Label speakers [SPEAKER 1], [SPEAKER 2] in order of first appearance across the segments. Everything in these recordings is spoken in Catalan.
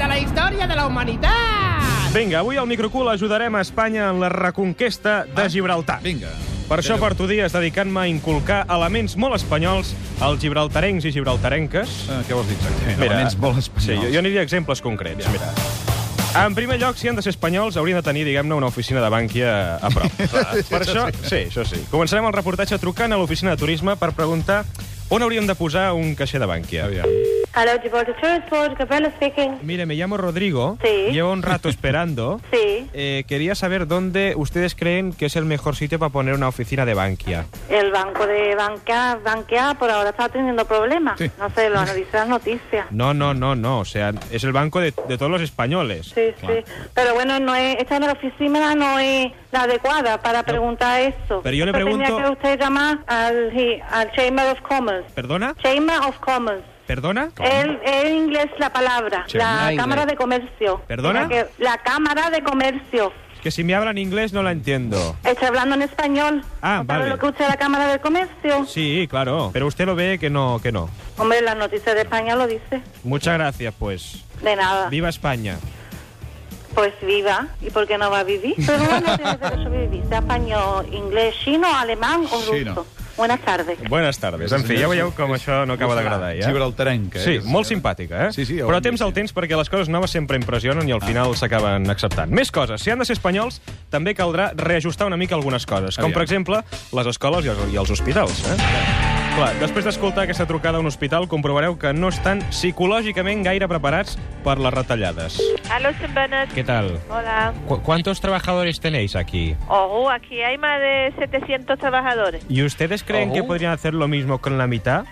[SPEAKER 1] l'espatlla de la humanitat!
[SPEAKER 2] Vinga, avui al Microcool ajudarem a Espanya en la reconquesta de Gibraltar.
[SPEAKER 3] Ah, Vinga.
[SPEAKER 2] Per això porto dies dedicant-me a inculcar elements molt espanyols als gibraltarencs i gibraltarenques.
[SPEAKER 3] Eh, què vols dir exactament? Elements molt
[SPEAKER 2] Sí,
[SPEAKER 3] espanyols.
[SPEAKER 2] jo, jo aniria a exemples concrets, mira. En primer lloc, si han de ser espanyols, haurien de tenir, diguem-ne, una oficina de bànquia a prop. per això, sí, això sí. Començarem el reportatge trucant a l'oficina de turisme per preguntar on hauríem de posar un caixer de bànquia.
[SPEAKER 3] Aviam.
[SPEAKER 4] Hello, Gibraltar Tourist Board, Gabriela speaking.
[SPEAKER 2] Mire, me llamo Rodrigo,
[SPEAKER 4] Sí.
[SPEAKER 2] llevo un rato esperando.
[SPEAKER 4] Sí,
[SPEAKER 2] Eh, quería saber dónde ustedes creen que es el mejor sitio para poner una oficina de Bankia.
[SPEAKER 4] el banco de Banca, Bankia por ahora está teniendo problemas.
[SPEAKER 3] Sí.
[SPEAKER 4] No sé, lo han visto en las noticias.
[SPEAKER 2] No, no, no, no. O sea, es el banco de, de todos los españoles.
[SPEAKER 4] Sí, sí. Pero bueno, no es, esta la oficina no es la adecuada para preguntar eso.
[SPEAKER 2] Pero yo le
[SPEAKER 4] Eso
[SPEAKER 2] pregunto-
[SPEAKER 4] Tenía que usted llamar al, sí, al Chamber of Commerce.
[SPEAKER 2] ¿Perdona?
[SPEAKER 4] Chamber of Commerce.
[SPEAKER 2] ¿Perdona?
[SPEAKER 4] El, el inglés la palabra, la Cámara de Comercio.
[SPEAKER 2] ¿Perdona?
[SPEAKER 4] La, que- la Cámara de Comercio.
[SPEAKER 2] Es que si me hablan inglés no la entiendo.
[SPEAKER 4] Estoy hablando en español.
[SPEAKER 2] Ah,
[SPEAKER 4] ¿No sabe
[SPEAKER 2] vale.
[SPEAKER 4] lo que usted es la Cámara de Comercio?
[SPEAKER 2] Sí, claro. Pero usted lo ve que no, que no.
[SPEAKER 4] Hombre, la noticia de España lo dice.
[SPEAKER 2] Muchas gracias, pues.
[SPEAKER 4] De nada.
[SPEAKER 2] Viva España.
[SPEAKER 4] Pues viva. ¿Y por qué no va a vivir? Pero bueno, tiene derecho a vivir. Sea español, inglés, chino, alemán o ruso.
[SPEAKER 3] Chino.
[SPEAKER 4] Buenas tardes.
[SPEAKER 2] Buenas tardes. En fi, ja veieu com això no acaba d'agradar, ja.
[SPEAKER 3] Gibraltarenca, eh?
[SPEAKER 2] Sí, molt simpàtica, eh?
[SPEAKER 3] Sí, sí, ja ho
[SPEAKER 2] Però
[SPEAKER 3] hem
[SPEAKER 2] temps
[SPEAKER 3] vist,
[SPEAKER 2] al
[SPEAKER 3] ja.
[SPEAKER 2] temps perquè les coses noves sempre impressionen
[SPEAKER 3] Ah.
[SPEAKER 2] i al final s'acaben acceptant. Més coses. Si han de ser espanyols, també caldrà reajustar una mica algunes coses, com
[SPEAKER 3] Aviam.
[SPEAKER 2] per exemple les escoles i els, i els hospitals, eh? Clar, després d'escoltar aquesta trucada a un hospital, comprovareu que no estan psicològicament gaire preparats per les retallades.
[SPEAKER 5] Aló, St. Bernard.
[SPEAKER 2] Què tal?
[SPEAKER 5] Hola.
[SPEAKER 2] ¿Cuántos trabajadores tenéis aquí?
[SPEAKER 5] Ojo, aquí hay más de 700 trabajadores.
[SPEAKER 2] ¿Y ustedes creen
[SPEAKER 3] Oh.
[SPEAKER 2] que podrían hacer lo mismo con la mitad?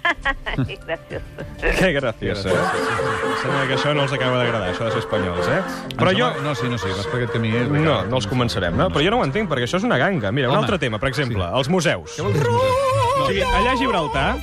[SPEAKER 5] Ay, gracioso.
[SPEAKER 2] Que gracioso. eh. Sembla que això no els acaba d'agradar, això de ser espanyols, eh? Però jo...
[SPEAKER 3] No, sí, no, sí, vas per aquest camí. Eh?
[SPEAKER 2] No, no els començarem, no? Però jo no ho entenc, perquè això és una ganga. Mira, un
[SPEAKER 3] Home.
[SPEAKER 2] altre tema, per exemple, els museus.
[SPEAKER 3] Què vols dir?
[SPEAKER 2] O sigui, allà a Gibraltar,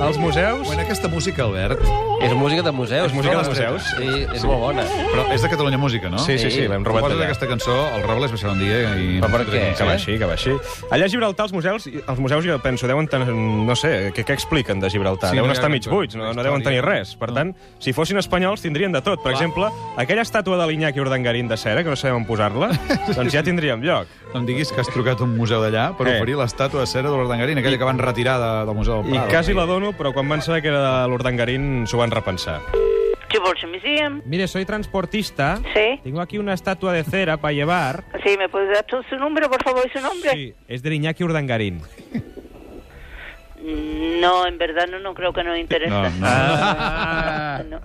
[SPEAKER 2] els museus...
[SPEAKER 3] Bueno, aquesta música, Albert,
[SPEAKER 6] És música de museus.
[SPEAKER 2] És música de
[SPEAKER 6] no?
[SPEAKER 2] museus?
[SPEAKER 6] Sí, és molt bona.
[SPEAKER 3] però és de Catalunya Música, no?
[SPEAKER 2] Sí, sí, sí, l'hem robat
[SPEAKER 3] Poses
[SPEAKER 2] allà.
[SPEAKER 3] aquesta cançó, el Robles baixarà un dia i...
[SPEAKER 6] Però per què?
[SPEAKER 2] Que va així, que va així. Allà a Gibraltar, els museus, els museus jo penso, deuen tenir... No sé, què, què expliquen de Gibraltar?
[SPEAKER 3] Sí,
[SPEAKER 2] Sí, deuen
[SPEAKER 3] no hi ha
[SPEAKER 2] estar mig
[SPEAKER 3] cap-
[SPEAKER 2] buits, no, no deuen tenir res. Per
[SPEAKER 3] No.
[SPEAKER 2] tant, si fossin espanyols, tindrien de tot. Per exemple, aquella estàtua de l'Iñaki Urdangarín de cera, que no sabem on posar-la, doncs ja tindríem lloc.
[SPEAKER 3] No em diguis que has trucat a un museu d'allà per
[SPEAKER 2] Eh.
[SPEAKER 3] oferir l'estàtua de cera de l'Ordangarín, aquella que van retirar de, del Museu del
[SPEAKER 2] I
[SPEAKER 3] Prado.
[SPEAKER 2] quasi la dono, però quan van saber que era de l'Urdangarín s'ho van repensar.
[SPEAKER 4] Gibraltar Museum.
[SPEAKER 2] Mire, soy transportista.
[SPEAKER 4] Sí.
[SPEAKER 2] Tengo aquí una estatua de cera para llevar.
[SPEAKER 4] Sí, ¿me puede dar su número, por favor, y su nombre?
[SPEAKER 2] Sí, es de Iñaki Urdangarín.
[SPEAKER 4] Mm, No, en verdad no, no creo que nos interese.
[SPEAKER 3] No, no.
[SPEAKER 4] No.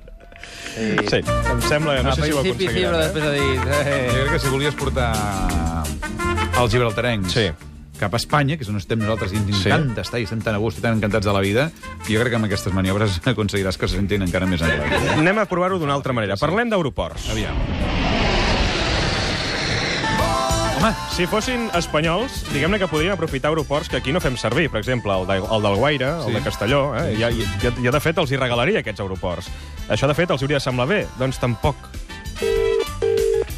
[SPEAKER 2] Sí. sí. Em sembla que no
[SPEAKER 6] Al
[SPEAKER 2] sé si ho
[SPEAKER 6] principi sí, però
[SPEAKER 2] aconseguirem. Eh?
[SPEAKER 6] després ha dit...
[SPEAKER 3] Jo
[SPEAKER 6] Eh.
[SPEAKER 3] crec que si volies portar els gibraltarencs
[SPEAKER 2] Sí.
[SPEAKER 3] cap a Espanya, que és on estem nosaltres i ens
[SPEAKER 2] Sí.
[SPEAKER 3] encanta estar i estem tan a gust i tan encantats de la vida, jo crec que amb aquestes maniobres aconseguiràs que se sentin encara més enrere.
[SPEAKER 2] Anem a provar-ho d'una altra manera. Parlem d'aeroports.
[SPEAKER 3] Aviam. Home,
[SPEAKER 2] Si fossin espanyols, diguem-ne que podrien aprofitar aeroports que aquí no fem servir. Per exemple, el, de, el del Guaire, el
[SPEAKER 3] Sí.
[SPEAKER 2] de Castelló. Eh?
[SPEAKER 3] Sí,
[SPEAKER 2] Ja,
[SPEAKER 3] sí.
[SPEAKER 2] ja, ja, de fet, els hi regalaria aquests aeroports. Això, de fet, els hauria de semblar bé. Doncs tampoc.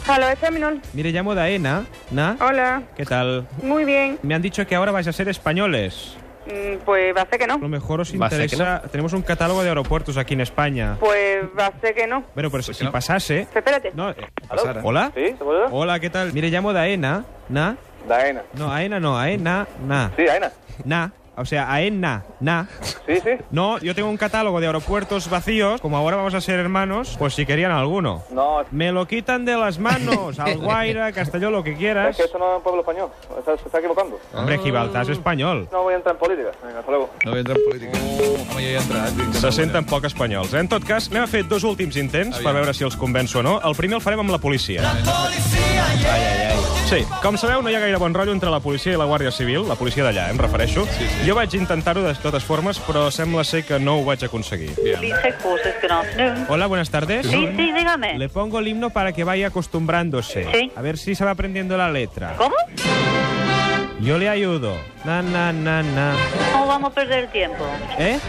[SPEAKER 7] Hola, Examinón.
[SPEAKER 2] Mire, llamo Daena. Na,
[SPEAKER 7] Hola,
[SPEAKER 2] què tal?
[SPEAKER 7] muy bien.
[SPEAKER 2] Me han dicho que ahora vais a ser españoles.
[SPEAKER 7] Mm, Pues va a ser que no.
[SPEAKER 2] A lo mejor os
[SPEAKER 6] Va a ser que
[SPEAKER 2] interesa... Tenemos un catálogo de aeropuertos aquí en España.
[SPEAKER 7] Pues va a ser que no.
[SPEAKER 2] Bueno, pero si,
[SPEAKER 3] Pues
[SPEAKER 2] si
[SPEAKER 3] no.
[SPEAKER 2] pasase...
[SPEAKER 7] Espérate.
[SPEAKER 2] No, eh,
[SPEAKER 3] Sara.
[SPEAKER 2] ¿Hola?
[SPEAKER 8] ¿Sí? ¿Se puede?
[SPEAKER 2] Hola, ¿qué tal? Mire, llamo Daena. ¿Na?
[SPEAKER 8] Daena.
[SPEAKER 2] No, Aena no, Aena, na.
[SPEAKER 8] Sí, Daena.
[SPEAKER 2] Na. O sea, Aena, na.
[SPEAKER 8] Sí, sí.
[SPEAKER 2] No, yo tengo un catálogo de aeropuertos vacíos. Como ahora vamos a ser hermanos, pues si querían alguno.
[SPEAKER 8] No,
[SPEAKER 2] Me lo quitan de las manos. Alguaira, Castelló, lo que
[SPEAKER 8] es
[SPEAKER 2] quieras.
[SPEAKER 8] que eso no es un pueblo español. Está- se está equivocando.
[SPEAKER 2] Hombre, Gibraltar es español.
[SPEAKER 8] No voy a entrar en política. Venga, hasta luego.
[SPEAKER 3] no entra en política. Home, ja hi he entrat.
[SPEAKER 2] Oh. Se senten poc espanyols. eh? En tot cas, anem a fer dos últims intents per veure si els convenço o no. El primer el farem amb la policia.
[SPEAKER 6] Ai, ai, ai.
[SPEAKER 2] Sí, com sabeu, no hi ha gaire bon rotllo entre la policia i la Guàrdia Civil, la policia d'allà, eh, em refereixo. Jo vaig intentar-ho de totes formes, però sembla ser que no ho vaig aconseguir.
[SPEAKER 4] Dice cosas que no. no.
[SPEAKER 2] Hola, buenas tardes.
[SPEAKER 4] Sí, sí, dígame.
[SPEAKER 2] Le pongo el himno para que vaya acostumbrándose.
[SPEAKER 4] Sí.
[SPEAKER 2] A ver si se va aprendiendo la letra.
[SPEAKER 4] ¿Cómo?
[SPEAKER 2] Yo le ayudo. Na, na, na, na.
[SPEAKER 4] No vamos a perder tiempo.
[SPEAKER 2] Eh?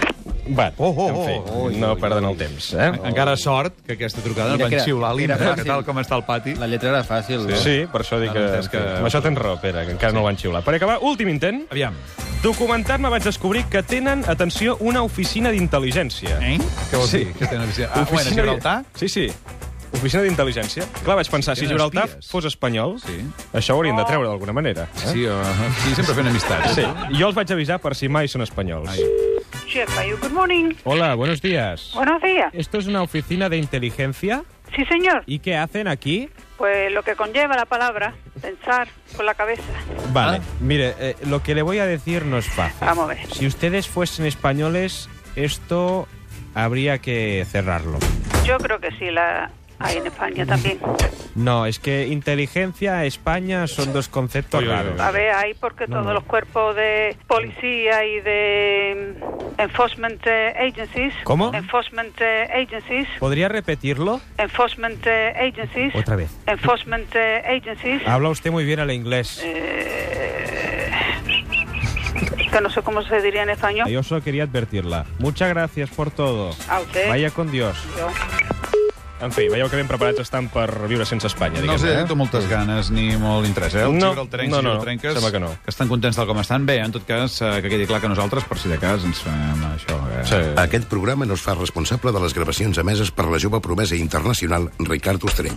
[SPEAKER 2] Va,
[SPEAKER 3] Oh, oh,
[SPEAKER 2] en fi,
[SPEAKER 3] oh, oh,
[SPEAKER 2] no
[SPEAKER 3] oh,
[SPEAKER 2] perden el temps, eh?
[SPEAKER 3] Encara sort que aquesta trucada
[SPEAKER 6] Mira
[SPEAKER 3] van
[SPEAKER 6] que era-
[SPEAKER 3] xiular
[SPEAKER 6] era
[SPEAKER 3] l'himne, que
[SPEAKER 6] fàcil.
[SPEAKER 3] tal com està el pati.
[SPEAKER 6] La lletra era fàcil. no?
[SPEAKER 2] Sí, per això dic
[SPEAKER 3] Ara
[SPEAKER 2] que...
[SPEAKER 3] entens que-
[SPEAKER 2] Amb això tens raó, Pere, que encara no ho van xiular. Per acabar, últim intent.
[SPEAKER 3] Aviam.
[SPEAKER 2] Documentant-me vaig descobrir que tenen, atenció, una oficina d'intel·ligència.
[SPEAKER 3] Eh? Què vols
[SPEAKER 2] Sí.
[SPEAKER 3] dir? Que tenen oficina. Ah, bueno, Ah, Gibraltar?
[SPEAKER 2] Sí, sí. Oficina d'Intel·ligència. Clar, vaig pensar, si
[SPEAKER 3] Tenen
[SPEAKER 2] Gibraltar
[SPEAKER 3] espies.
[SPEAKER 2] fos espanyol,
[SPEAKER 3] Sí.
[SPEAKER 2] això ho haurien de treure d'alguna manera. Eh?
[SPEAKER 3] Sí, o... sí, sempre fent amistats.
[SPEAKER 2] Sí. Jo els vaig avisar per si mai són espanyols.
[SPEAKER 3] Ai.
[SPEAKER 7] good morning.
[SPEAKER 2] Hola, buenos días.
[SPEAKER 7] Buenos días.
[SPEAKER 2] ¿Esto es una oficina de inteligencia?
[SPEAKER 7] Sí, señor.
[SPEAKER 2] ¿Y qué hacen aquí?
[SPEAKER 7] Pues lo que conlleva la palabra, pensar con la cabeza.
[SPEAKER 2] Vale, mire, eh, lo que le voy a decir no es fácil.
[SPEAKER 7] Ah. Vamos a ver.
[SPEAKER 2] Si ustedes fuesen españoles, esto habría que cerrarlo.
[SPEAKER 7] Yo creo que sí, la hay en España también.
[SPEAKER 2] No, es que inteligencia, España son dos conceptos
[SPEAKER 3] Oye, oye,
[SPEAKER 2] raros.
[SPEAKER 3] oye.
[SPEAKER 7] A ver, hay porque todos los cuerpos de policía y de mm, enforcement eh, agencies.
[SPEAKER 2] ¿Cómo?
[SPEAKER 7] Enforcement eh, agencies.
[SPEAKER 2] ¿Podría repetirlo?
[SPEAKER 7] Enforcement eh, agencies.
[SPEAKER 2] Otra vez.
[SPEAKER 7] Enforcement eh, agencies.
[SPEAKER 2] Habla usted muy bien el inglés.
[SPEAKER 7] Que no sé cómo se diría en español.
[SPEAKER 2] Yo solo quería advertirla. Muchas gracias por todo.
[SPEAKER 7] A usted.
[SPEAKER 2] Vaya con Dios.
[SPEAKER 7] Yo.
[SPEAKER 2] En fi, veieu que ben preparats estan per viure sense Espanya,
[SPEAKER 3] No els he
[SPEAKER 2] diguem-ne. eh?
[SPEAKER 3] dit moltes ganes ni molt interès, eh? Els
[SPEAKER 2] No,
[SPEAKER 3] gibraltarencs
[SPEAKER 2] no,
[SPEAKER 3] i
[SPEAKER 2] no,
[SPEAKER 3] gibraltarenques
[SPEAKER 2] sembla que no.
[SPEAKER 3] que estan contents del com estan. Bé, en tot cas, eh, que quedi clar que nosaltres, per si de cas, ens fem això. Eh?
[SPEAKER 2] Sí.
[SPEAKER 9] Aquest programa no es fa responsable de les gravacions emeses per la jove promesa internacional Ricard Ostrell.